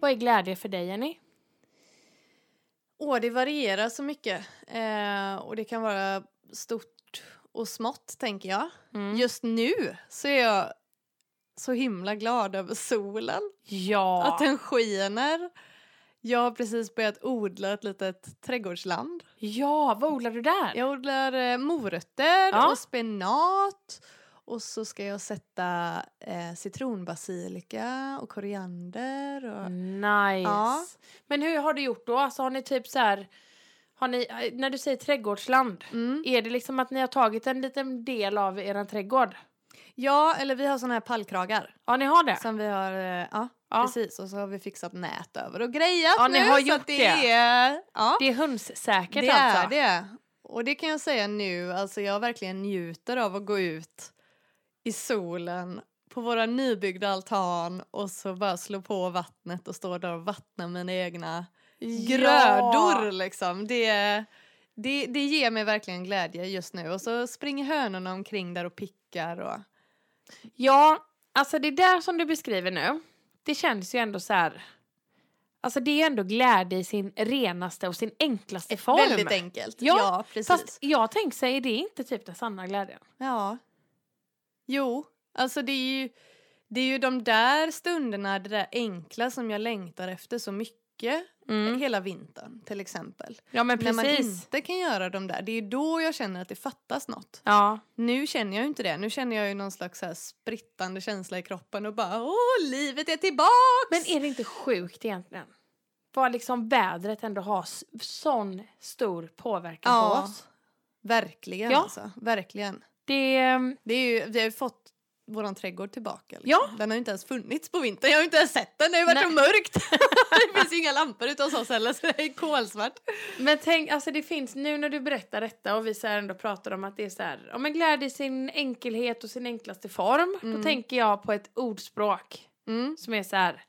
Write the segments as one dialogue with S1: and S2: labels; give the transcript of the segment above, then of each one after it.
S1: Vad är glädje för dig, Jenny?
S2: Åh, det varierar så mycket. Eh, och det kan vara stort och smått, tänker jag.
S1: Mm.
S2: Just nu så är jag så himla glad över solen.
S1: Ja.
S2: Att den skiner. Jag har precis börjat odla ett litet trädgårdsland.
S1: Ja, vad odlar du där?
S2: Jag odlar eh, morötter
S1: Ja.
S2: och spenat. Och så ska jag sätta eh, citronbasilika och koriander. Och...
S1: Mm. Nice.
S2: Ja.
S1: Men hur har du gjort då? Alltså, har ni typ så här... Har ni, eh, när du säger trädgårdsland,
S2: Mm.
S1: är det liksom att ni har tagit en liten del av er trädgård?
S2: Ja, eller vi har såna här pallkragar.
S1: Ja, ni har det?
S2: Som vi har, eh, ja,
S1: Ja.
S2: precis. Och så har vi fixat nät över och grejat
S1: Ja,
S2: nu.
S1: ni har
S2: så
S1: gjort
S2: att det.
S1: det.
S2: Är, ja,
S1: Det är hönssäkert
S2: det
S1: alltså?
S2: är det. Och det kan jag säga nu, alltså jag verkligen njuter av att gå ut i solen på våra nybyggda altan och så bara slå på vattnet och stå där och vattna mina egna
S1: Ja.
S2: grödor liksom. Det, det, det ger mig verkligen glädje just nu. Och så springer hönorna omkring där och pickar och...
S1: Ja, alltså det där som du beskriver nu, det känns ju ändå så här... Alltså det är ju ändå glädje i sin renaste och sin enklaste form.
S2: Väldigt enkelt.
S1: Ja,
S2: Ja, precis.
S1: Fast jag tänker sig, är det inte typ den sanna glädjen?
S2: Ja. Jo, alltså det är ju, det är ju de där stunderna, det där enkla som jag längtar efter så mycket. Hela vintern till exempel.
S1: Mm. Ja men
S2: När man
S1: precis.
S2: inte kan göra de där, det är då jag känner att det fattas något.
S1: Ja.
S2: Nu känner jag ju inte det. Nu känner jag ju någon slags så här sprittande känsla i kroppen och bara åh, livet är tillbaks!
S1: Men är det inte sjukt egentligen? Vad liksom vädret ändå har s- sån stor påverkan
S2: Ja.
S1: på oss.
S2: Verkligen
S1: Ja.
S2: alltså, verkligen.
S1: Det, ehm,
S2: Det är ju, vi har ju fått våran trädgård tillbaka. Liksom.
S1: Ja.
S2: Den har ju inte ens funnits på vintern. Jag har ju inte ens sett den, det har ju varit
S1: Nej.
S2: så mörkt. det finns ju inga lampor ute hos oss heller så det är kolsvart.
S1: men tänk, alltså det finns nu när du berättar detta och vi så här ändå pratar om att det är så här, ja men glädje i sin enkelhet och sin enklaste form. Då
S2: Mm.
S1: tänker jag på ett ordspråk
S2: Mm.
S1: som är så här.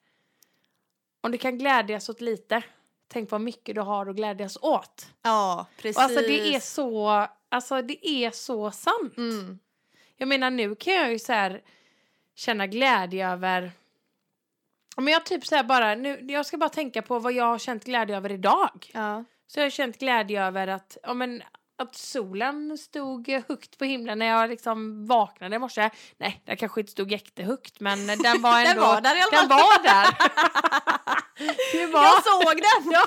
S1: Om du kan glädjas åt lite, tänk vad mycket du har att glädjas åt.
S2: Ja, precis.
S1: Och alltså det är så, alltså det är så sant.
S2: Mm.
S1: Jag menar nu kan jag ju så här känna glädje över Ja, men jag typ så här bara, nu, jag ska bara tänka på vad jag har känt glädje över idag.
S2: Ja.
S1: Så jag har känt glädje över att, ja, men, att solen stod högt på himlen när jag liksom vaknade i morse. Nej, den kanske inte stod jättehögt men den var ändå...
S2: Den var där i alla
S1: Den
S2: fall.
S1: var där. Det var...
S2: Jag såg den!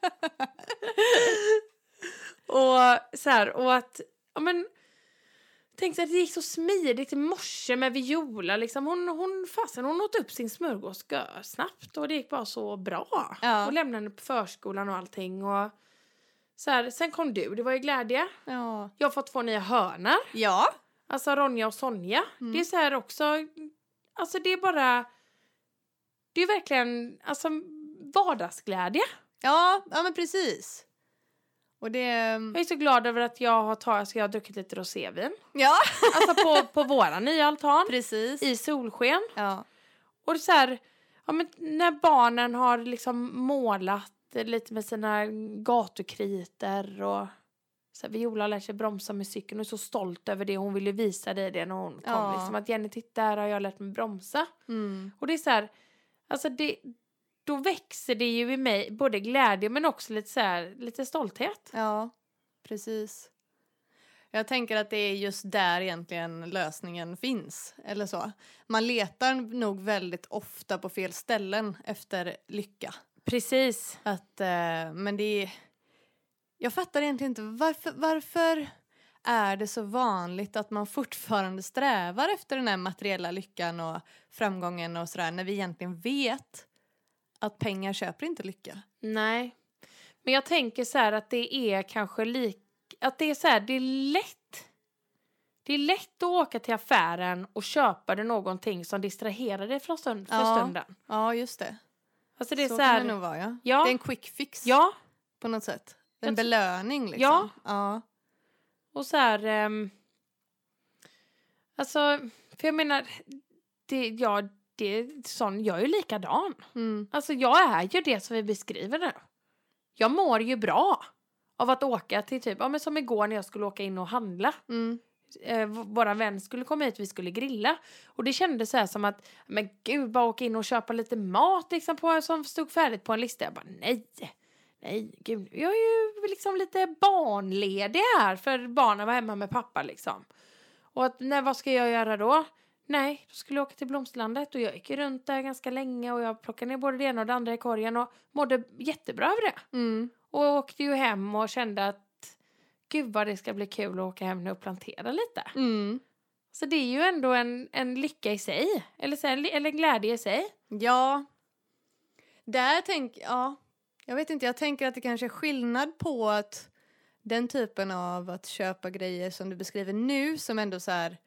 S1: Ja. och så här, och att, ja men Tänk så att det gick så smidigt i morse med Viola liksom. Hon, hon, fasen, hon åt upp sin smörgås gö- snabbt och det gick bara så bra.
S2: Ja.
S1: Och lämnade henne på förskolan och allting och så här, sen kom du, det var ju glädje.
S2: Ja.
S1: Jag har fått två nya hönor,
S2: ja.
S1: alltså Ronja och Sonja.
S2: Mm.
S1: Det är så här också, alltså det är bara, det är verkligen alltså vardagsglädje.
S2: Ja, ja men precis. Och det...
S1: Jag är så glad över att jag har, tagit, alltså jag har druckit lite rosévin.
S2: Ja,
S1: Alltså på, på våra nya altan.
S2: precis.
S1: I solsken.
S2: Ja.
S1: Och så här, ja, men när barnen har liksom målat eh, lite med sina gatukritor och så här, Viola lär sig bromsa med cykeln och är så stolt över det. Hon ville visa dig det när hon kom.
S2: Ja.
S1: Liksom, att Jenny, titta här har jag lärt mig bromsa.
S2: Mm.
S1: Och det är så här, alltså det, då växer det ju i mig både glädje men också lite, så här, lite stolthet.
S2: Ja, precis. Jag tänker att det är just där egentligen lösningen finns. Eller så. Man letar nog väldigt ofta på fel ställen efter lycka.
S1: Precis.
S2: Att, eh, men det är... Jag fattar egentligen inte varför, varför är det så vanligt att man fortfarande strävar efter den här materiella lyckan och framgången och sådär när vi egentligen vet att pengar köper inte lycka.
S1: Nej. Men jag tänker så här att det är kanske lik... Att det är så här, det är lätt. Det är lätt att åka till affären och köpa dig någonting som distraherar dig från stund, för
S2: Ja.
S1: stunden.
S2: Ja, just det.
S1: Alltså det är så,
S2: så
S1: här...
S2: kan det nog vara, ja.
S1: Ja.
S2: Det är en quick fix.
S1: Ja,
S2: på något sätt.
S1: Jag
S2: En
S1: tr-
S2: belöning liksom.
S1: Ja.
S2: ja.
S1: och så här... ehm, alltså, för jag menar... Det, ja, det är sån, jag är ju likadan.
S2: Mm.
S1: Alltså jag är ju det som vi beskriver nu. Jag mår ju bra av att åka till typ, ja men som igår när jag skulle åka in och handla.
S2: Mm.
S1: eh, v- våra vän skulle komma hit, vi skulle grilla. Och det kändes så här som att, men gud, bara åka in och köpa lite mat liksom på, som stod färdigt på en lista. Jag bara, nej, nej, gud, jag är ju liksom lite barnledig här för barnen var hemma med pappa liksom. Och att, nej, vad ska jag göra då? Nej, då skulle jag åka till Blomsterlandet och jag gick ju runt där ganska länge och jag plockade ner både det ena och det andra i korgen och mådde jättebra över det.
S2: Mm.
S1: Och åkte ju hem och kände att gud vad det ska bli kul att åka hem nu och plantera lite.
S2: Mm.
S1: Så det är ju ändå en, en lycka i sig, eller, så här, eller en glädje i sig.
S2: Ja. Där tänk, ja. Jag vet inte, jag tänker att det kanske är skillnad på att den typen av att köpa grejer som du beskriver nu som ändå så här,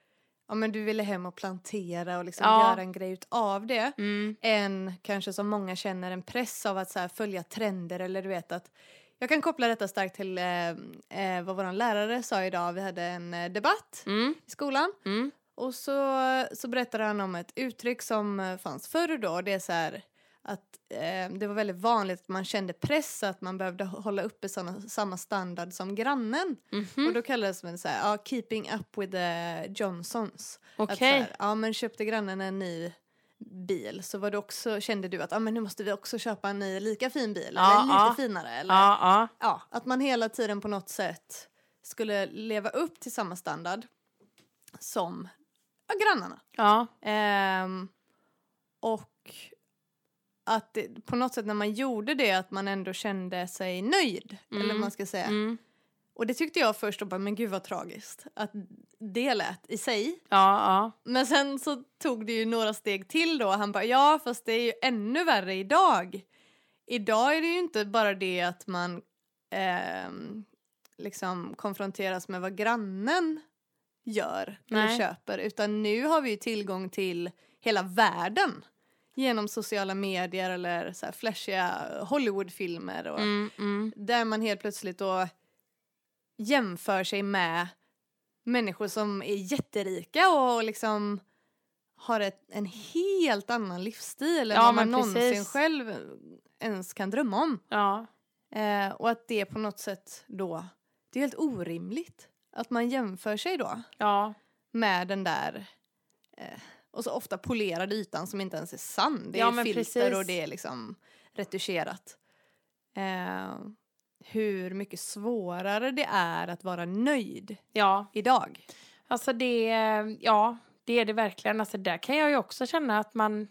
S2: ja men du ville hem och plantera och liksom
S1: Ja.
S2: göra en grej av det.
S1: Mm.
S2: än kanske som många känner en press av att så här, följa trender eller du vet att jag kan koppla detta starkt till eh, eh, vad vår lärare sa idag. Vi hade en eh, debatt
S1: Mm.
S2: i skolan
S1: Mm.
S2: och så, så berättade han om ett uttryck som eh, fanns förr då. Det är så här att eh, det var väldigt vanligt att man kände press att man behövde hå- hålla uppe såna, samma standard som grannen.
S1: Mhm.
S2: Och då kallades det så här, ja, keeping up with the Johnsons. Att så
S1: Okej.
S2: här, ja men köpte grannen en ny bil så var det också, kände du att ah, men nu måste vi också köpa en ny lika fin bil
S1: Ja,
S2: eller lite
S1: ja.
S2: finare. Eller, ja.
S1: Ja, ja.
S2: att man hela tiden på något sätt skulle leva upp till samma standard som ja, grannarna.
S1: Ja.
S2: Ehm, och att det, på något sätt när man gjorde det att man ändå kände sig nöjd. Eller
S1: Mm.
S2: vad man ska säga.
S1: Mm.
S2: Och det tyckte jag först och bara men gud vad tragiskt att det lät i sig.
S1: Ja, ja.
S2: Men sen så tog det ju några steg till då. Han bara, ja fast det är ju ännu värre idag. Idag är det ju inte bara det att man ehm, liksom konfronteras med vad grannen gör
S1: Nej.
S2: eller köper. Utan nu har vi ju tillgång till hela världen. Genom sociala medier eller så här flashiga Hollywoodfilmer. Och,
S1: Mm, mm.
S2: där man helt plötsligt då jämför sig med människor som är jätterika och liksom har ett, en helt annan livsstil
S1: Ja,
S2: än vad man
S1: men
S2: någonsin
S1: precis.
S2: själv ens kan drömma om.
S1: Ja.
S2: Eh, och att det på något sätt då, det är helt orimligt att man jämför sig då
S1: Ja.
S2: med den där eh, och så ofta polerade ytan som inte ens är sann. Det är
S1: Ja,
S2: ju
S1: men
S2: filter
S1: precis.
S2: och det är liksom retuscherat. Eh, hur mycket svårare det är att vara nöjd
S1: Ja.
S2: idag.
S1: Alltså det, ja, det är det verkligen. Alltså där kan jag ju också känna att man...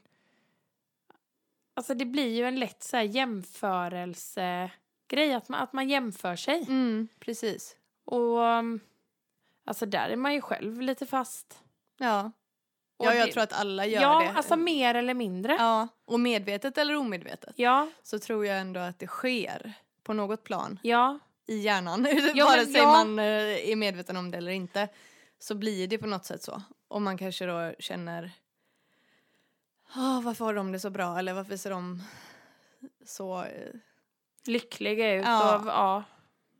S1: Alltså det blir ju en lätt så här jämförelsegrej, att man, att man jämför sig.
S2: precis.
S1: Och um, alltså där är man ju själv lite fast.
S2: Ja.
S1: Och
S2: ja, jag
S1: det-
S2: tror att alla gör
S1: Ja,
S2: det.
S1: alltså mer eller mindre. Ja.
S2: ja, och medvetet eller omedvetet
S1: Ja,
S2: så tror jag ändå att det sker på något plan
S1: ja,
S2: i hjärnan.
S1: Ja,
S2: Vare
S1: men
S2: sig
S1: ja.
S2: man eh, är medveten om det eller inte. Så blir det på något sätt så. Och man kanske då känner "Ah, varför har de det så bra eller varför ser de så... eh?"
S1: lyckliga ut.
S2: Ja.
S1: Och, ja.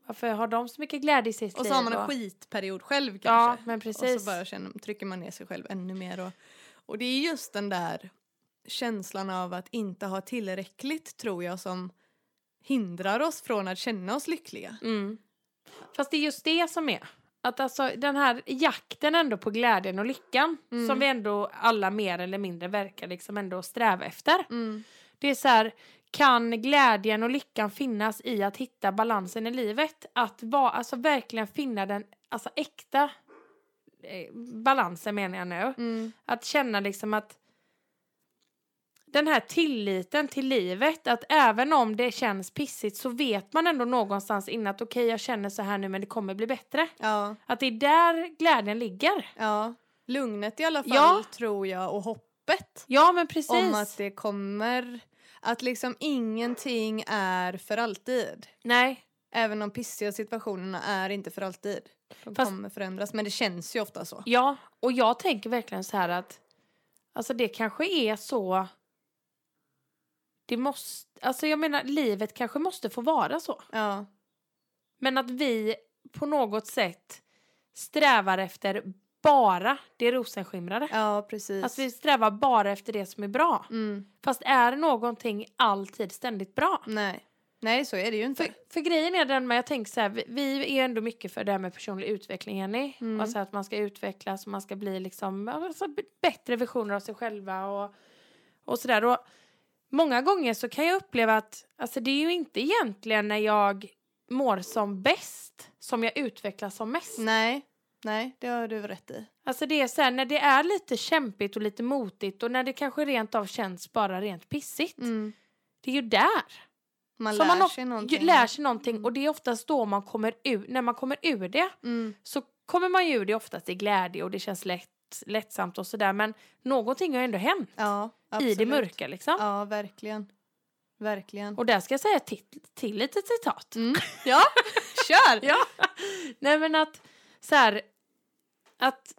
S1: Varför har de så mycket glädje i sitt
S2: Och
S1: liv?
S2: så har man en
S1: och-
S2: skitperiod själv
S1: Ja,
S2: kanske.
S1: men
S2: Och
S1: precis.
S2: så bara känner, trycker man ner sig själv ännu mer. Och, och det är just den där känslan av att inte ha tillräckligt tror jag som hindrar oss från att känna oss lyckliga.
S1: Mm. Fast det är just det som är. Att alltså den här jakten ändå på glädjen och lyckan
S2: Mm.
S1: som vi ändå alla mer eller mindre verkar liksom ändå sträva efter.
S2: Mm.
S1: Det är så här, kan glädjen och lyckan finnas i att hitta balansen i livet? Att va, alltså verkligen finna den alltså äkta eh, balansen menar jag nu.
S2: Mm.
S1: Att känna liksom att den här tilliten till livet, att även om det känns pissigt så vet man ändå någonstans innan att okej jag känner så här nu men det kommer bli bättre.
S2: Ja.
S1: Att det är där glädjen ligger.
S2: Ja, lugnet i alla fall
S1: Ja.
S2: tror jag och hoppet
S1: Ja men precis.
S2: om att det kommer att liksom ingenting är för alltid.
S1: Nej.
S2: Även de pissiga situationerna är inte för alltid. De
S1: Fast-
S2: kommer förändras men det känns ju ofta så.
S1: Ja, och jag tänker verkligen så här att alltså det kanske är så det måste, alltså jag menar livet kanske måste få vara så.
S2: Ja,
S1: Men att vi på något sätt strävar efter bara det rosenskimrade.
S2: ja precis.
S1: Att vi strävar bara efter det som är bra.
S2: mm,
S1: Fast är någonting alltid ständigt bra?
S2: nej. Nej, så är det ju inte.
S1: För, för grejen är den med, jag tänker så här, vi, vi är ändå mycket för det här med personlig utveckling, Jenny.
S2: Mm.
S1: Alltså att man ska utvecklas och man ska bli liksom, alltså, b- bättre versioner av sig själva och, och sådär. Och många gånger så kan jag uppleva att alltså, det är ju inte egentligen när jag mår som bäst som jag utvecklas som mest.
S2: Nej, nej, det har du rätt i.
S1: Alltså det är så här, när det är lite kämpigt och lite motigt och när det kanske rent av känns bara rent pissigt.
S2: Mm.
S1: Det är ju där
S2: Man
S1: Så
S2: lär
S1: man
S2: sig
S1: ju-
S2: någonting.
S1: lär sig någonting och det är oftast då man kommer ur, när man kommer ur det
S2: Mm.
S1: så kommer man ju ur det oftast i glädje och det känns lätt, lättsamt och sådär men någonting har ju ändå hänt
S2: Ja,
S1: i det
S2: absolut.
S1: mörka liksom.
S2: Ja, verkligen. Verkligen.
S1: Och där ska jag säga till, till lite citat.
S2: Mm. Ja, kör!
S1: Ja. Nej men att så här, att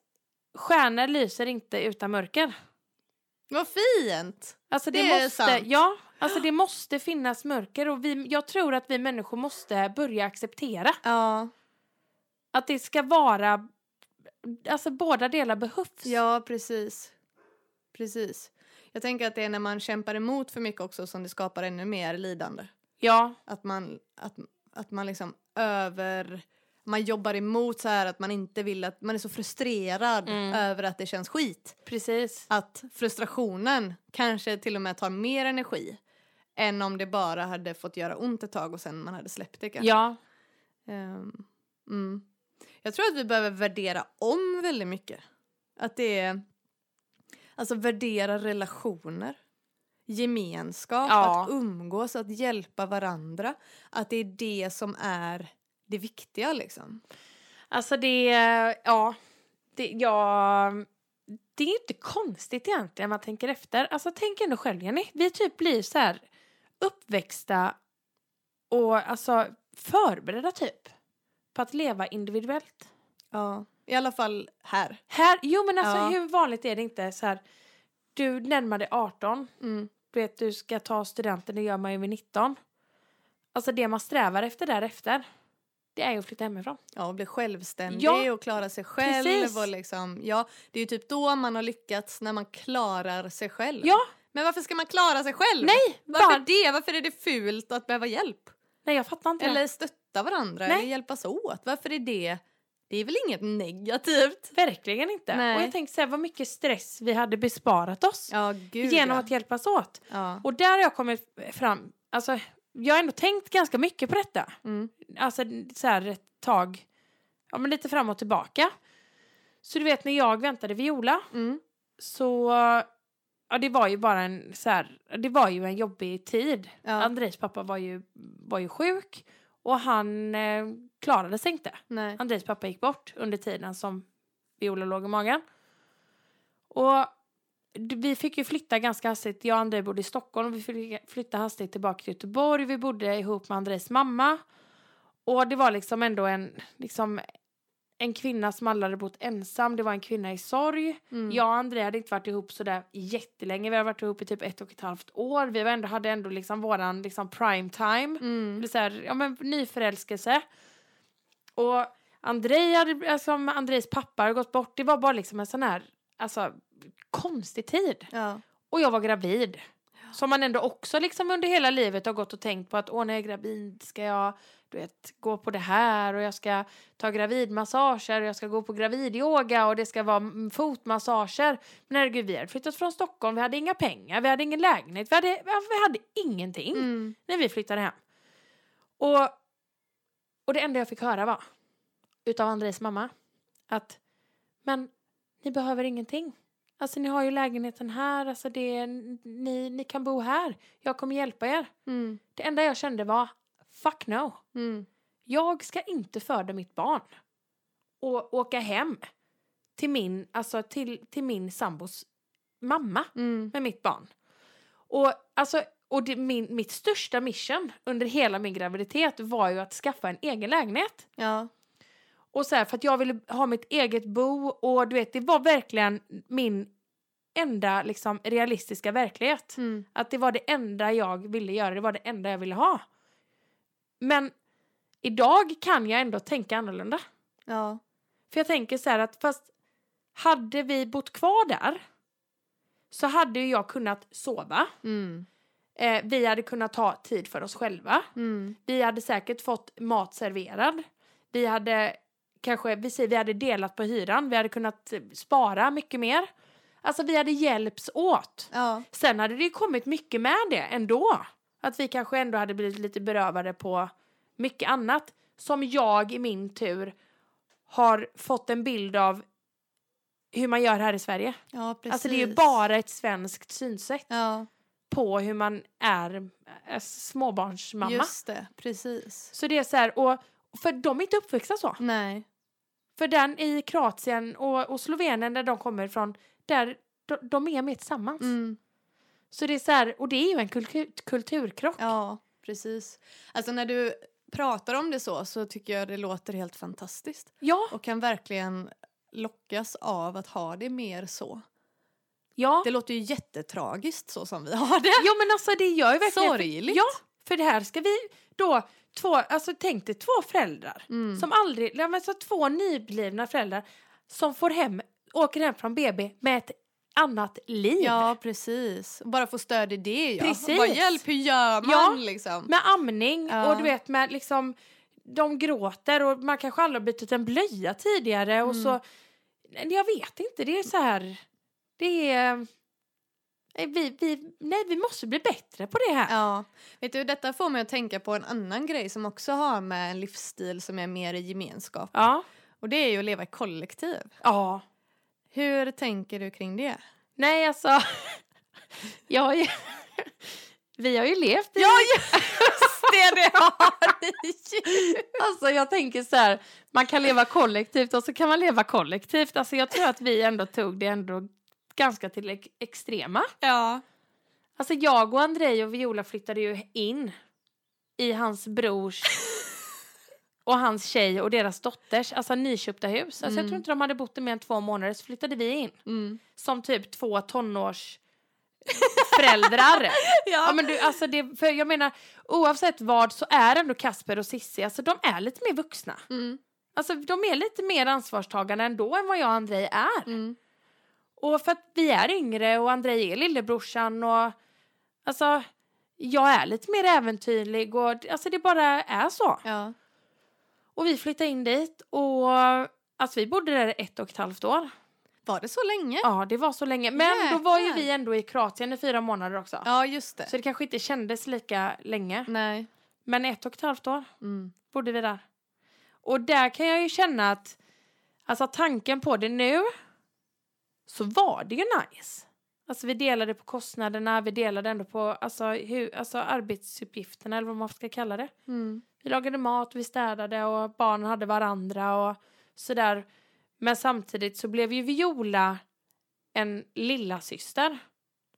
S1: stjärnor lyser inte utan mörker.
S2: Vad fint!
S1: Alltså det,
S2: Det är
S1: måste,
S2: sant.
S1: ja, alltså det måste finnas mörker och vi, jag tror att vi människor måste börja acceptera
S2: Ja,
S1: Att det ska vara... Alltså båda delar behövs.
S2: ja precis. Precis. Jag tänker att det är när man kämpar emot för mycket också som det skapar ännu mer lidande.
S1: Ja,
S2: Att man, att, att man liksom över... Man jobbar emot så här att man inte vill att... Man är så frustrerad
S1: Mm.
S2: över att det känns skit.
S1: precis.
S2: att frustrationen kanske till och med tar mer energi än om det bara hade fått göra ont ett tag och sen man hade släppt det kanske.
S1: Ja,
S2: Ehm, mm. Jag tror att vi behöver värdera om väldigt mycket. Att det är, alltså värdera relationer, gemenskap,
S1: Ja.
S2: att umgås, att hjälpa varandra. Att det är det som är det viktiga liksom.
S1: alltså det... Ja, det, ja, det är inte konstigt egentligen när man tänker efter. Alltså tänk ändå själv Jenny, vi typ blir så här uppväxta och alltså förberedda typ på att leva individuellt.
S2: Ja. I alla fall här.
S1: Här, jo men alltså
S2: Ja.
S1: hur vanligt är det inte så här, du närmar dig 18
S2: Mm.
S1: du vet, du ska ta studenten, det gör man ju vid 19. Alltså det man strävar efter därefter, det är ju att flytta hemifrån.
S2: Ja, och bli självständig
S1: Ja,
S2: och klara sig själv.
S1: precis.
S2: Och liksom, ja, det är ju typ då man har lyckats, när man klarar sig själv.
S1: Ja,
S2: Men varför ska man klara sig själv?
S1: nej!
S2: varför
S1: Bara,
S2: det? Varför är det fult att behöva hjälp?
S1: nej, jag fattar inte det.
S2: Eller stötta varandra
S1: Nej.
S2: eller hjälpas åt? Varför är det? Det är väl inget negativt?
S1: Verkligen inte.
S2: Nej.
S1: Och jag tänker så här, vad mycket stress vi hade besparat oss
S2: Ja, gud
S1: genom
S2: ja.
S1: att hjälpas åt.
S2: ja.
S1: Och där har jag kommit fram, alltså jag har ändå tänkt ganska mycket på detta.
S2: Mm.
S1: Alltså så här ett tag, ja men lite fram och tillbaka. Så du vet när jag väntade Viola
S2: Mm.
S1: så ja, det var ju bara en så här, det var ju en jobbig tid.
S2: Ja.
S1: Andrejs pappa var ju, var ju sjuk och han eh, klarade sig inte.
S2: Nej.
S1: Andrejs pappa gick bort under tiden som Viola låg i magen. Och d- vi fick ju flytta ganska hastigt. Jag och Andrej bodde i Stockholm. Vi fick flytta hastigt tillbaka till Göteborg. Vi bodde ihop med Andrejs mamma. Och det var liksom ändå en, liksom, en kvinna som aldrig hade bott ensam. Det var en kvinna i sorg.
S2: Mm.
S1: Jag och André hade inte varit ihop sådär jättelänge. Vi hade varit ihop i typ ett och ett halvt år. Vi var ändå, hade ändå liksom våran liksom prime time.
S2: Mm.
S1: Eller såhär, ja men nyförälskelse. Och André hade, alltså Andrés pappa hade gått bort. Det var bara liksom en sån här, alltså konstig tid.
S2: Ja.
S1: Och jag var gravid. Som man ändå också liksom under hela livet har gått och tänkt på att åh när jag är gravid ska jag du vet, gå på det här och jag ska ta gravidmassager och jag ska gå på gravidyoga och det ska vara mm, fotmassager. Men herregud vi hade flyttat från Stockholm, vi hade inga pengar, vi hade ingen lägenhet, vi hade, vi hade ingenting
S2: Mm.
S1: när vi flyttade hem. Och, och det enda jag fick höra var utav Andres mamma att men ni behöver ingenting. Alltså ni har ju lägenheten här, alltså det, är- ni, ni kan bo här. Jag kommer hjälpa er.
S2: Mm.
S1: Det enda jag kände var fuck no.
S2: Mm.
S1: Jag ska inte föda mitt barn och åka hem till min, alltså till, till min sambos mamma
S2: Mm.
S1: med mitt barn. Och, alltså, och det, min, mitt största mission under hela min graviditet var ju att skaffa en egen lägenhet.
S2: Ja.
S1: Och så här, för att jag ville ha mitt eget bo och du vet, det var verkligen min enda liksom, realistiska verklighet.
S2: Mm.
S1: Att det var det enda jag ville göra, det var det enda jag ville ha. Men idag kan jag ändå tänka annorlunda.
S2: Ja.
S1: För jag tänker så här att fast hade vi bott kvar där så hade ju jag kunnat sova.
S2: Mm.
S1: Eh, vi hade kunnat ta tid för oss själva.
S2: Mm.
S1: Vi hade säkert fått mat serverad. Vi hade kanske, vi säger vi hade delat på hyran. Vi hade kunnat eh, spara mycket mer. Alltså vi hade hjälps åt.
S2: Ja.
S1: Sen hade det ju kommit mycket med det ändå. Att vi kanske ändå hade blivit lite berövade på mycket annat. Som jag i min tur har fått en bild av hur man gör här i Sverige.
S2: ja, precis.
S1: Alltså det är ju bara ett svenskt synsätt
S2: ja,
S1: på hur man är eh, småbarnsmamma.
S2: Just det, precis.
S1: Så det är så här, och för de är inte uppvuxna så.
S2: Nej.
S1: För den i Kroatien och, och Slovenien där de kommer ifrån, där de, de är mer tillsammans.
S2: Mm.
S1: Så det är så här, och det är ju en kultur, kulturkrock.
S2: Ja, precis. Alltså när du pratar om det så så tycker jag det låter helt fantastiskt.
S1: Ja,
S2: Och kan verkligen lockas av att ha det mer så.
S1: ja.
S2: Det låter ju jättetragiskt så som vi har det.
S1: Jo men alltså det gör ju verkligen...
S2: Sorgligt.
S1: Ja, för det här ska vi då... Två, alltså tänk dig två föräldrar
S2: Mm.
S1: som aldrig... Ja, men så två nyblivna föräldrar som får hem, åker hem från BB med ett annat liv.
S2: Ja, precis. Bara få stöd i det. Ja.
S1: Precis.
S2: Bara hjälp, hur gör man?
S1: Ja.
S2: Liksom.
S1: Med amning
S2: Ja.
S1: och du vet med liksom... De gråter och man kanske aldrig har bytt en blöja tidigare och så... Nej, Jag vet inte, det är så här... Det är... nej, Vi, vi, nej, vi måste bli bättre på det här.
S2: Ja. Vet du, detta får mig att tänka på en annan grej som också har med en livsstil som är mer i gemenskap.
S1: Ja.
S2: Och det är ju att leva i kollektiv.
S1: ja.
S2: Hur tänker du kring det?
S1: Nej, alltså... Jag har ju... Vi har ju levt i...
S2: just det! Det har ni
S1: Alltså, jag tänker så här, man kan leva kollektivt och så kan man leva kollektivt. Alltså, jag tror att vi ändå tog det ändå ganska till ex- extrema.
S2: Ja.
S1: Alltså, jag och Andrej och Viola flyttade ju in i hans brors och hans tjej och deras dotters, alltså nyköpta hus. Alltså, Jag
S2: Mm.
S1: tror inte de hade bott där mer än två månader, så flyttade vi in.
S2: Mm.
S1: Som typ två tonårsföräldrar. Ja men du, alltså det, för jag menar oavsett vad så är ändå Kasper och Sissi, alltså de är lite mer vuxna.
S2: Mm.
S1: Alltså de är lite mer ansvarstagande ändå än vad jag och Andrej är.
S2: Mm.
S1: Och för att vi är yngre och Andrej är lillebrorsan och alltså jag är lite mer äventyrlig och alltså det bara är så.
S2: Ja.
S1: Och vi flyttade in dit och alltså vi bodde där ett och ett halvt år.
S2: Var det så länge?
S1: Ja det var så länge men då var ju
S2: Jäklar.
S1: vi ändå i Kroatien i fyra månader också.
S2: Ja, just det.
S1: Så det kanske inte kändes lika länge.
S2: Nej.
S1: Men ett och ett halvt år
S2: Mm.
S1: bodde vi där. Och där kan jag ju känna att, alltså tanken på det nu, så var det ju nice. Alltså vi delade på kostnaderna, vi delade ändå på alltså, hur, alltså arbetsuppgifterna eller vad man ska kalla det.
S2: Mm.
S1: Vi lagade mat, vi städade och barnen hade varandra och sådär. Men samtidigt så blev ju Viola en lilla syster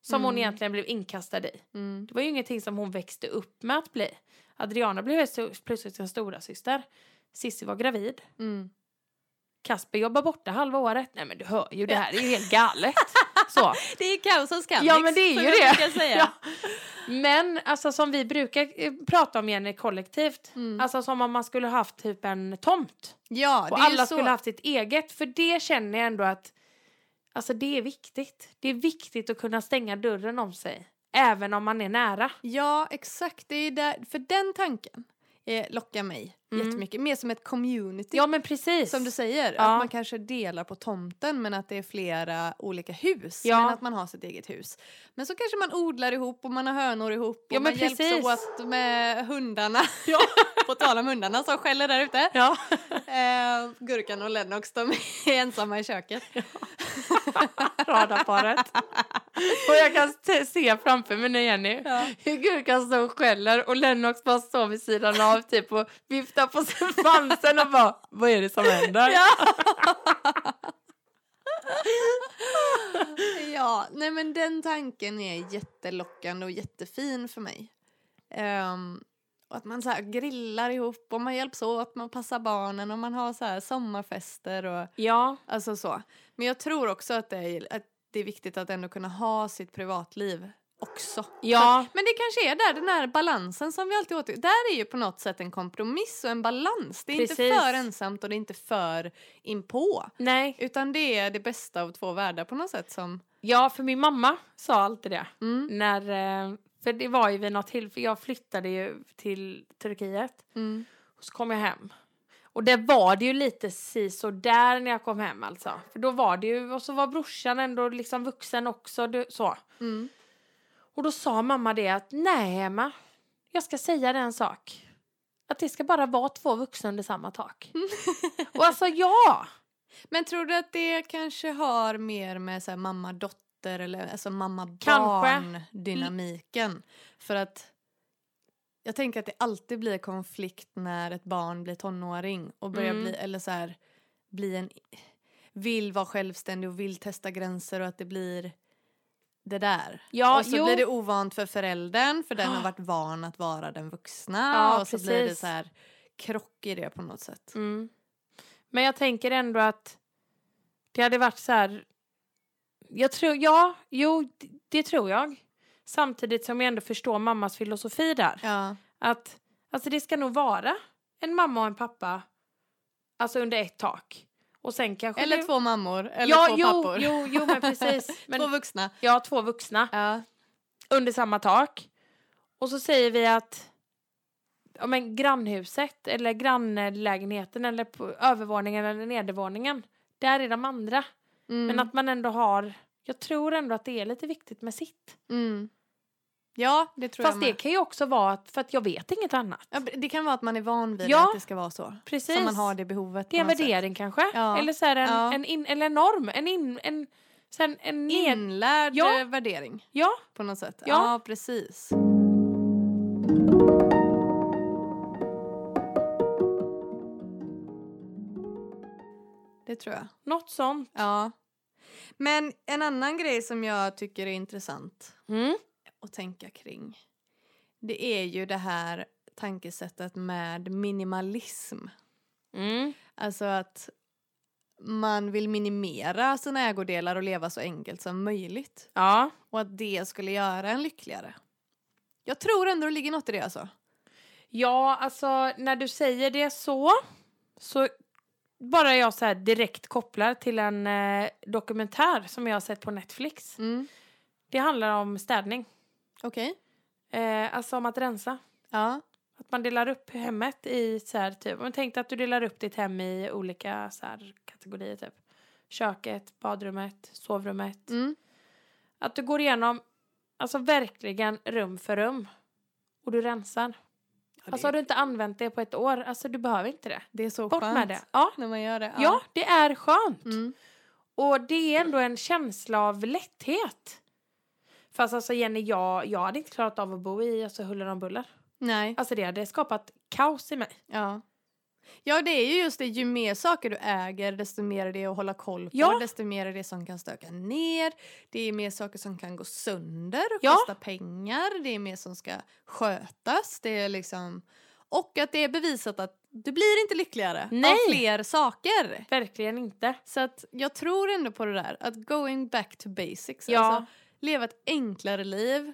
S1: som hon
S2: Mm.
S1: egentligen blev inkastad i.
S2: Mm.
S1: Det var ju ingenting som hon växte upp med att bli. Adriana blev så- plötsligt sin stora syster. Sissi var gravid.
S2: Mm.
S1: Kasper jobbar borta halva året. Nej men du hör ju, det här är ju helt galet. Så.
S2: Det är kaosens Kalix.
S1: Ja, men det är
S2: som
S1: ju
S2: jag
S1: det.
S2: brukar säga.
S1: Ja. Men alltså som vi brukar eh, prata om Jenny kollektivt.
S2: Mm.
S1: Alltså som om man skulle haft typ en tomt.
S2: Ja, det
S1: Och
S2: är ju
S1: alla
S2: så.
S1: skulle haft sitt eget. För det känner jag ändå att alltså det är viktigt. Det är viktigt att kunna stänga dörren om sig. Även om man är nära.
S2: Ja, exakt. Det är där, för den tanken eh, lockar mig
S1: Mm.
S2: jättemycket. Mer som ett community.
S1: Ja men precis.
S2: Som du säger,
S1: Ja.
S2: att man kanske delar på tomten men att det är flera olika hus.
S1: Ja.
S2: Men att man har sitt eget hus. Men så kanske man odlar ihop och man har hönor ihop och
S1: Ja, men
S2: man
S1: precis.
S2: hjälps åt med hundarna. på tal om hundarna som skäller där ute.
S1: Ja.
S2: Eh, Gurkan och Lennox de är ensamma i köket.
S1: radarparet. och jag kan t- se framför mig nu Jenny
S2: Ja.
S1: hur Gurkan står och skäller och Lennox bara står vid sidan av typ och viftar på sig svansen och bara vad är det som händer?
S2: Ja. ja, nej men den tanken är jättelockande och jättefin för mig. Ehm, och att man så här grillar ihop och man hjälps åt, man passar barnen och man har så här sommarfester och
S1: Ja,
S2: alltså så. Men jag tror också att det är, att det är viktigt att ändå kunna ha sitt privatliv också.
S1: ja,
S2: Men det kanske är där, den här balansen som vi alltid åter... Där är ju på något sätt en kompromiss och en balans. Det är
S1: Precis.
S2: inte för ensamt och det är inte för inpå.
S1: nej.
S2: Utan det är det bästa av två världar på något sätt som...
S1: Ja, för min mamma sa alltid det.
S2: Mm.
S1: När, eh, För det var ju vid något tillfälle, jag flyttade ju till Turkiet
S2: Mm.
S1: och så kom jag hem. Och det var det ju lite si så där när jag kom hem alltså. För då var det ju, och så var brorsan ändå liksom vuxen också. Det, så.
S2: Mm.
S1: Och då sa mamma det att nej Emma, jag ska säga dig en sak. Att det ska bara vara två vuxna under samma tak. och alltså ja!
S2: Men tror du att det kanske har mer med så här mamma dotter eller alltså mamma barn
S1: Kanske.
S2: dynamiken? För att jag tänker att det alltid blir konflikt när ett barn blir tonåring och börjar
S1: Mm.
S2: bli eller så här bli en vill vara självständig och vill testa gränser och att det blir det där.
S1: Ja,
S2: och så
S1: jo.
S2: blir det ovant för föräldern för den har varit van att vara den vuxna
S1: Ja,
S2: och så blir det
S1: precis.
S2: så här krock i det på något sätt.
S1: Mm. Men jag tänker ändå att det hade varit så här... Jag tror, ja, jo, d- det tror jag. Samtidigt som jag ändå förstår mammas filosofi där.
S2: Ja.
S1: Att alltså det ska nog vara en mamma och en pappa alltså under ett tak. Och sen kanske
S2: Eller
S1: det...
S2: två mammor, eller
S1: ja,
S2: två
S1: jo,
S2: pappor.
S1: Jo, jo, men precis.
S2: Två
S1: Men,
S2: vuxna.
S1: ja, två vuxna
S2: Ja.
S1: under samma tak. Och så säger vi att ja, men grannhuset eller grannlägenheten eller på övervåningen eller nedervåningen, där är de andra.
S2: Mm.
S1: Men att man ändå har, jag tror ändå att det är lite viktigt med sitt.
S2: mm. Ja, det tror
S1: Fast
S2: jag
S1: det
S2: med.
S1: kan ju också vara att, för att jag vet inget annat.
S2: Ja, det kan vara att man är van vid
S1: Ja,
S2: att det ska vara så.
S1: Precis.
S2: Så man har det behovet.
S1: Det är en
S2: på något sätt.
S1: värdering kanske.
S2: Ja.
S1: Eller så är det en,
S2: Ja.
S1: en, in, eller en norm, en, in, en, sen en ned...
S2: Inlärd
S1: Ja.
S2: eh, värdering
S1: Ja,
S2: på något sätt.
S1: Ja.
S2: precis. Det tror jag.
S1: något sånt.
S2: Ja. Men en annan grej som jag tycker är intressant
S1: Mm.
S2: att tänka kring. Det är ju det här tankesättet med minimalism.
S1: Mm.
S2: Alltså att man vill minimera sina ägodelar och leva så enkelt som möjligt.
S1: Ja.
S2: Och att det skulle göra en lyckligare. Jag tror ändå det ligger något i det alltså.
S1: Ja, alltså när du säger det så, så bara jag så här direkt kopplar till en eh, dokumentär som jag har sett på Netflix.
S2: Mm.
S1: Det handlar om städning,
S2: Okej.
S1: eh, alltså om att rensa.
S2: Ja.
S1: Att man delar upp hemmet i så här typ, men tänk dig att du delar upp ditt hem i olika så här kategorier typ. Köket, badrummet, sovrummet.
S2: Mm.
S1: Att du går igenom, alltså verkligen rum för rum. Och du rensar.
S2: Ja,
S1: Alltså har
S2: det,
S1: du inte använt det på ett år, alltså du behöver inte det.
S2: det är så
S1: Bort
S2: skönt
S1: med det. Ja.
S2: när man gör det.
S1: ja, det är skönt.
S2: Mm.
S1: Och det är ändå en känsla av lätthet. Fast alltså Jenny, jag, jag hade inte klarat av att bo i alltså, huller om buller.
S2: Nej.
S1: Alltså det hade skapat kaos i mig.
S2: Ja. Ja, det är ju just det. Ju mer saker du äger, desto mer är det att hålla koll på.
S1: Ja.
S2: Desto mer är det som kan stöka ner. Det är mer saker som kan gå sönder och
S1: Ja.
S2: kosta pengar. Det är mer som ska skötas. Det är liksom... Och att det är bevisat att du blir inte lyckligare
S1: Nej.
S2: av fler saker.
S1: Verkligen inte.
S2: Så att jag tror ändå på det där. Att going back to basics.
S1: Ja.
S2: Alltså, leva ett enklare liv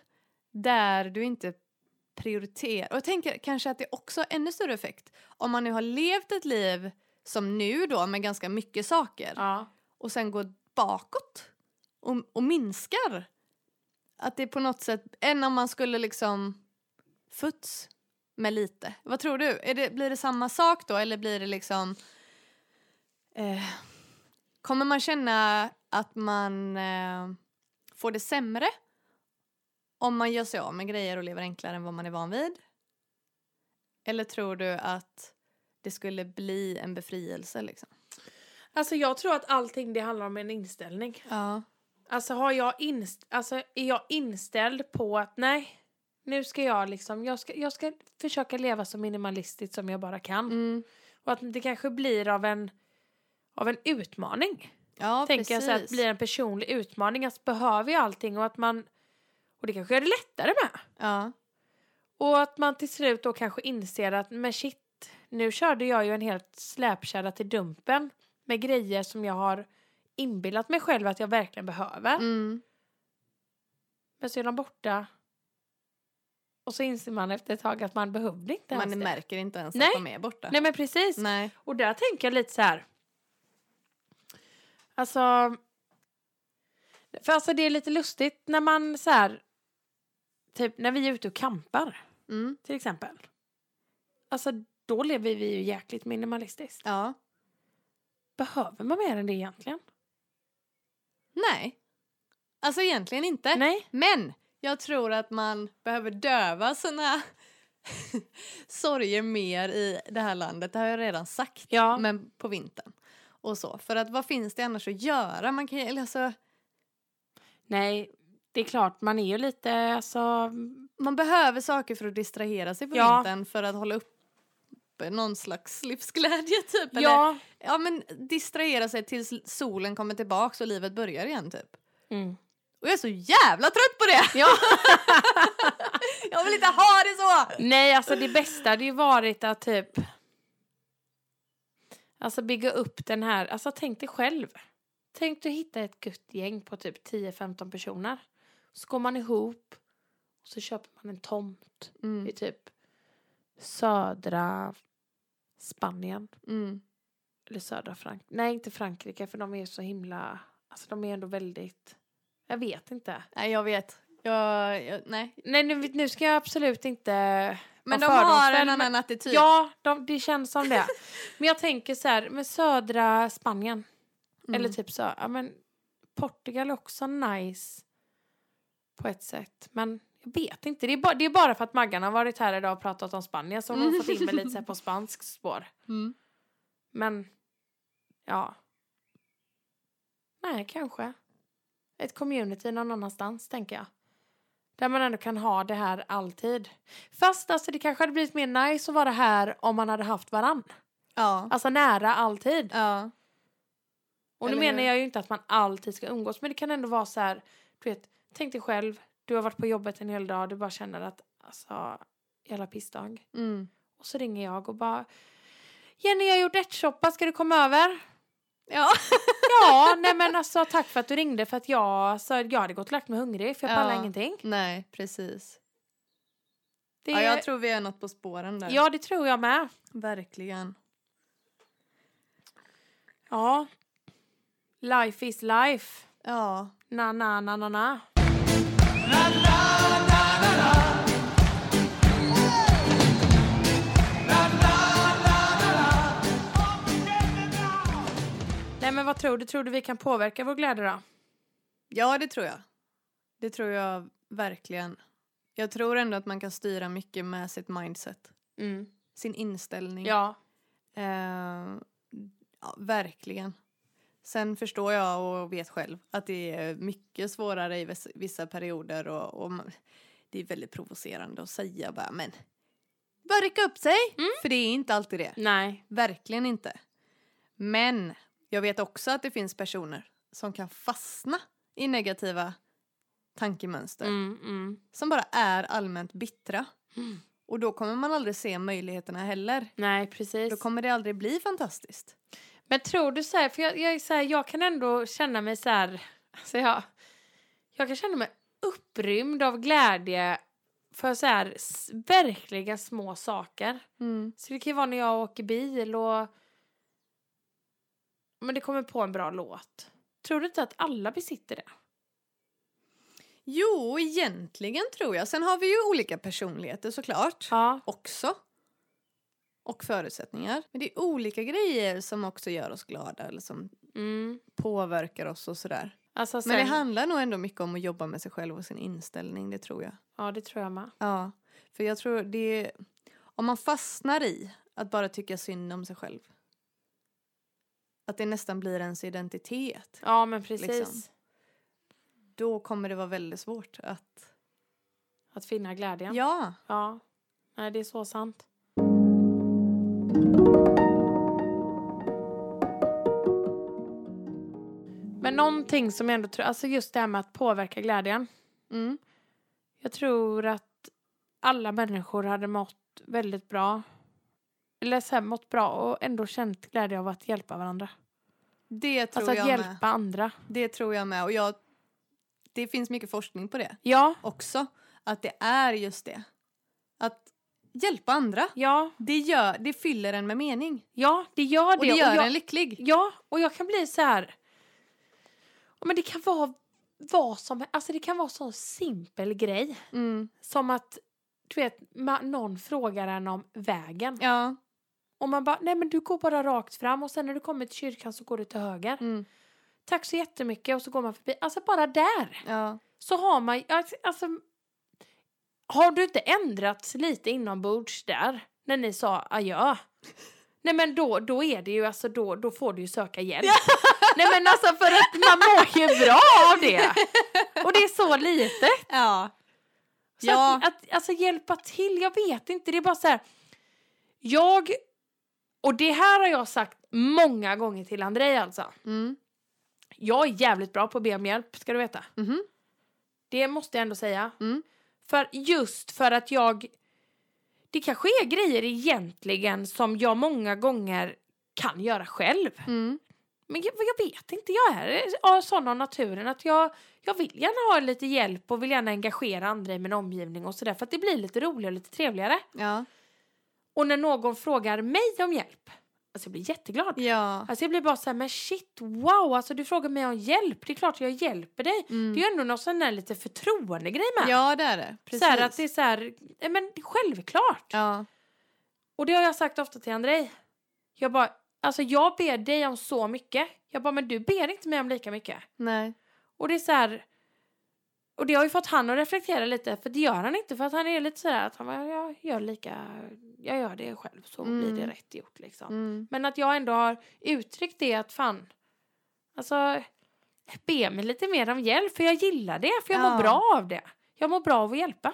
S2: där du inte prioriterar. Och jag tänker kanske att det också har ännu större effekt. Om man nu har levt ett liv som nu då med ganska mycket saker
S1: Ja.
S2: och sen går bakåt och, och minskar. Att det på något sätt, än om man skulle liksom futs med lite. Vad tror du? Är det, blir det samma sak då eller blir det liksom... Eh, kommer man känna att man eh, får det sämre om man gör sig av med grejer och lever enklare än vad man är van vid? Eller tror du att det skulle bli en befrielse liksom?
S1: Alltså jag tror att allting det handlar om en inställning.
S2: Ja.
S1: Alltså, har jag inst- alltså är jag inställd på att nej, nu ska jag liksom, jag ska, jag ska försöka leva så minimalistiskt som jag bara kan.
S2: Mm.
S1: Och att det kanske blir av en, av en utmaning.
S2: Ja,
S1: tänker jag så här, att
S2: precis.
S1: blir en personlig utmaning. Att behöver jag allting och att man... Och det kanske är det lättare med.
S2: Ja.
S1: Och att man till slut då kanske inser att men shit, nu körde jag ju en helt släpkärra till dumpen med grejer som jag har inbillat mig själv att jag verkligen behöver.
S2: Mm.
S1: Men så är de borta. Och så inser man efter ett tag att man behövde inte ens
S2: Man
S1: det.
S2: märker inte ens
S1: Nej.
S2: att de är borta.
S1: Nej men precis.
S2: Nej.
S1: Och där tänker jag lite så här. Alltså. För alltså det är lite lustigt när man så här. typ när vi är ute och kampar
S2: Mm.
S1: till exempel. Alltså då lever vi ju jäkligt minimalistiskt.
S2: Ja.
S1: Behöver man mer än det egentligen?
S2: Nej. Alltså egentligen inte.
S1: Nej.
S2: Men jag tror att man behöver döva sina sorger mer i det här landet. Det har jag redan sagt.
S1: Ja.
S2: Men på vintern. Och så. För att vad finns det annars att göra? Man kan ju, eller alltså,
S1: Nej, det är klart man är ju lite alltså.
S2: man behöver saker för att distrahera sig på
S1: Ja.
S2: vintern för att hålla upp någon slags livsglädje typ. Eller,
S1: Ja.
S2: ja men distrahera sig tills solen kommer tillbaks och livet börjar igen typ.
S1: Mm.
S2: Och jag är så jävla trött på det! Ja. jag vill inte ha det så!
S1: Nej, alltså det bästa hade ju varit att typ. Alltså bygga upp den här, alltså tänk dig själv. Tänk du hitta ett gött gäng på typ 10-15 personer. Så går man ihop och så köper man en tomt i
S2: Mm,
S1: typ södra Spanien.
S2: mm,
S1: Eller södra Frankrike. Nej, inte Frankrike för de är ju så himla, alltså de är ändå väldigt, jag vet inte.
S2: Nej jag vet. Jag, jag, nej.
S1: Nej, nu, nu ska jag absolut inte
S2: Men de
S1: vara
S2: har
S1: fördomsfull,
S2: en
S1: men-
S2: annan attityd.
S1: Ja, de, det känns som det. men jag tänker så här, med södra Spanien.
S2: Mm.
S1: Eller typ så, ja men Portugal är också nice. På ett sätt, men jag vet inte. Det är, ba, det är bara för att Maggan har varit här idag och pratat om Spanien som hon har fått in mig lite så här på spansk spår.
S2: Mm.
S1: Men, ja. Nej, kanske. Ett community någon annanstans, tänker jag. Där man ändå kan ha det här alltid. Fast alltså, det kanske hade blivit mer nice att vara här om man hade haft varann.
S2: Ja.
S1: Alltså nära alltid.
S2: ja.
S1: Och nu
S2: Eller hur?
S1: menar jag ju inte att man alltid ska umgås, men det kan ändå vara så här, du vet, tänk dig själv, du har varit på jobbet en hel dag, du bara känner att, alltså, jävla pissdag.
S2: Mm.
S1: Och så ringer jag och bara, Jenny jag har gjort ärtsoppa, ska du komma över?
S2: Ja.
S1: Ja, nej men alltså tack för att du ringde för att jag, alltså, jag hade gått och lagt mig hungrig för jag
S2: Ja.
S1: pallar ingenting.
S2: Nej, precis.
S1: Det,
S2: Ja, jag tror vi är något på spåren där.
S1: ja, det tror jag med.
S2: Verkligen.
S1: Ja. Life is life.
S2: Ja.
S1: Na, na, na, na, na. Nej men vad tror du? Tror du vi kan påverka vår glädje då?
S2: ja, det tror jag. Det tror jag verkligen. Jag tror ändå att man kan styra mycket med sitt mindset. Sin
S1: Mm.
S2: inställning.
S1: Ja.
S2: Eh, ja, verkligen. Sen förstår jag och vet själv att det är mycket svårare i vis- vissa perioder och, och man, det är väldigt provocerande att säga bara men bara rycka upp sig,
S1: Mm.
S2: för det är inte alltid det.
S1: Nej.
S2: Verkligen inte. Men jag vet också att det finns personer som kan fastna i negativa tankemönster
S1: Mm, mm.
S2: som bara är allmänt bittra.
S1: Mm.
S2: Och då kommer man aldrig se möjligheterna heller.
S1: Nej precis.
S2: Då kommer det aldrig bli fantastiskt.
S1: Men tror du så här, för jag, jag, är så här, jag kan ändå känna mig så här, alltså jag, jag kan känna mig upprymd av glädje för så här s- verkligen små saker.
S2: Mm.
S1: Så det kan ju vara när jag åker bil och men det kommer på en bra låt. Tror du inte att alla besitter det?
S2: Jo, egentligen tror jag. Sen har vi ju olika personligheter såklart.
S1: Ja.
S2: Också. Och förutsättningar. Men det är olika grejer som också gör oss glada eller som
S1: Mm.
S2: påverkar oss och sådär.
S1: Alltså sen,
S2: Men det handlar nog ändå mycket om att jobba med sig själv och sin inställning, det tror jag.
S1: Ja, det tror jag med.
S2: Ja, för jag tror det... Om man fastnar i att bara tycka synd om sig själv. Att det nästan blir ens identitet.
S1: Ja, men precis.
S2: Liksom. Då kommer det vara väldigt svårt att...
S1: Att finna glädjen.
S2: Ja.
S1: Ja, nej det är så sant. Men någonting som jag ändå tror, alltså just det här med att påverka glädjen.
S2: Mm.
S1: Jag tror att alla människor hade mått väldigt bra. Eller så här, mått bra och ändå känt glädje av att hjälpa varandra.
S2: Det tror
S1: alltså
S2: jag
S1: att hjälpa
S2: med.
S1: andra.
S2: Det tror jag med. Och jag, det finns mycket forskning på det
S1: Ja,
S2: också. Att det är just det. Att hjälpa andra.
S1: ja,
S2: Det, gör, det fyller en med mening.
S1: ja, det gör det.
S2: Och det gör
S1: jag,
S2: en lycklig.
S1: Ja, och jag kan bli så här. Ja, Men det kan vara vad som Alltså det kan vara sån simpel grej.
S2: Mm.
S1: Som att du vet, ma- någon frågar en om vägen.
S2: Ja.
S1: Och man bara, nej men du går bara rakt fram och sen när du kommer till kyrkan så går du till höger.
S2: Mm.
S1: Tack så jättemycket och så går man förbi. Alltså bara där.
S2: Ja.
S1: Så har man alltså har du inte ändrats lite inombords där när ni sa adjö? Nej men då, då är det ju alltså då, då får du ju söka hjälp. Nej men alltså för att man mår ju bra av det. Och det är så lite.
S2: Ja.
S1: Så
S2: Ja.
S1: att, att, alltså hjälpa till, jag vet inte. Det är bara så här. Jag, och det här har jag sagt många gånger till Andrei alltså.
S2: Mm.
S1: Jag är jävligt bra på att be om hjälp, ska du veta.
S2: Mhm.
S1: Det måste jag ändå säga.
S2: Mm.
S1: För just för att jag... Det kanske är grejer egentligen som jag många gånger kan göra själv.
S2: Mm.
S1: Men jag, jag vet inte, jag är av sån av naturen att jag, jag vill gärna ha lite hjälp och vill gärna engagera andra i min omgivning och sådär för att det blir lite roligare och lite trevligare.
S2: Ja.
S1: Och när någon frågar mig om hjälp, alltså jag blir jätteglad.
S2: Ja.
S1: Alltså jag blir bara så här, men shit, wow, alltså du frågar mig om hjälp, det är klart jag hjälper dig. Det
S2: Mm.
S1: är ju ändå någon sån där lite förtroendegrej med.
S2: Ja, det är det. Precis.
S1: Så här att det är så här, nej men självklart.
S2: Ja.
S1: Och det har jag sagt ofta till Andrei. Jag bara, alltså jag ber dig om så mycket. Jag bara, men du ber inte mig om lika mycket.
S2: Nej.
S1: Och det är så här, och det har ju fått han att reflektera lite, för det gör han inte. För att han är lite så här att han bara, jag gör lika, jag gör det själv så blir det
S2: Mm.
S1: rätt gjort liksom.
S2: Mm.
S1: Men att jag ändå har uttryckt det att fan, alltså be mig lite mer om hjälp för jag gillar det, för jag
S2: Ja.
S1: mår bra av det. Jag mår bra av att hjälpa.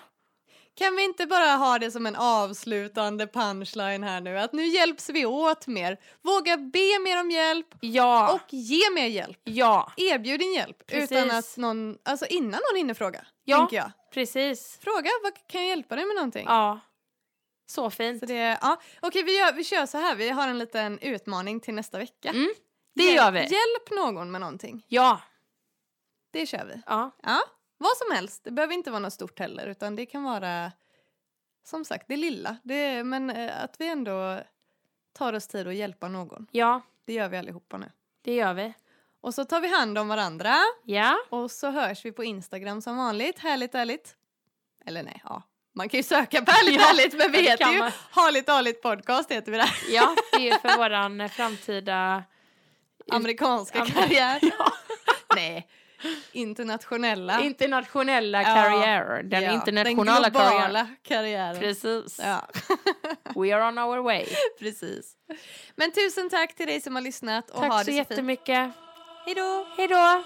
S2: Kan vi inte bara ha det som en avslutande punchline här nu? Att nu hjälps vi åt mer. Våga be mer om hjälp
S1: Ja,
S2: och ge mer hjälp.
S1: ja,
S2: Erbjud din hjälp utan
S1: Precis.
S2: att någon, alltså innan någon hinner fråga.
S1: Ja.
S2: Tänker jag.
S1: precis.
S2: Fråga, vad kan jag hjälpa dig med någonting?
S1: Ja. Så fint.
S2: Så
S1: det
S2: det, ja. Okej, vi, gör, vi kör så här. Vi har en liten utmaning till nästa vecka.
S1: Mm, gör vi.
S2: Hjälp någon med någonting.
S1: Ja.
S2: Det kör vi.
S1: ja.
S2: Ja, vad som helst. Det behöver inte vara något stort heller utan det kan vara som sagt det lilla. Det, men eh, att vi ändå tar oss tid att hjälpa någon.
S1: Ja,
S2: Det gör vi allihopa nu.
S1: det gör vi.
S2: Och så tar vi hand om varandra
S1: Ja.
S2: och så hörs vi på Instagram som vanligt. Härligt ärligt. Eller nej, ja. Man kan ju söka på härligt
S1: Ja,
S2: ärligt men vi
S1: det
S2: heter
S1: kan
S2: ju
S1: man.
S2: Harligt Arligt Podcast heter vi där.
S1: Ja, det är ju för våran eh, framtida...
S2: Amerikanska
S1: Amer-
S2: karriär. Nej, internationella.
S1: Internationella
S2: Ja,
S1: karriär. Den
S2: Ja,
S1: internationella
S2: den globala
S1: karriären.
S2: karriären.
S1: Precis.
S2: Ja.
S1: We are on our way.
S2: Precis. Men tusen tack till dig som har lyssnat och ha
S1: Tack så
S2: det så fint.
S1: jättemycket.
S2: Hej då!
S1: Hej då!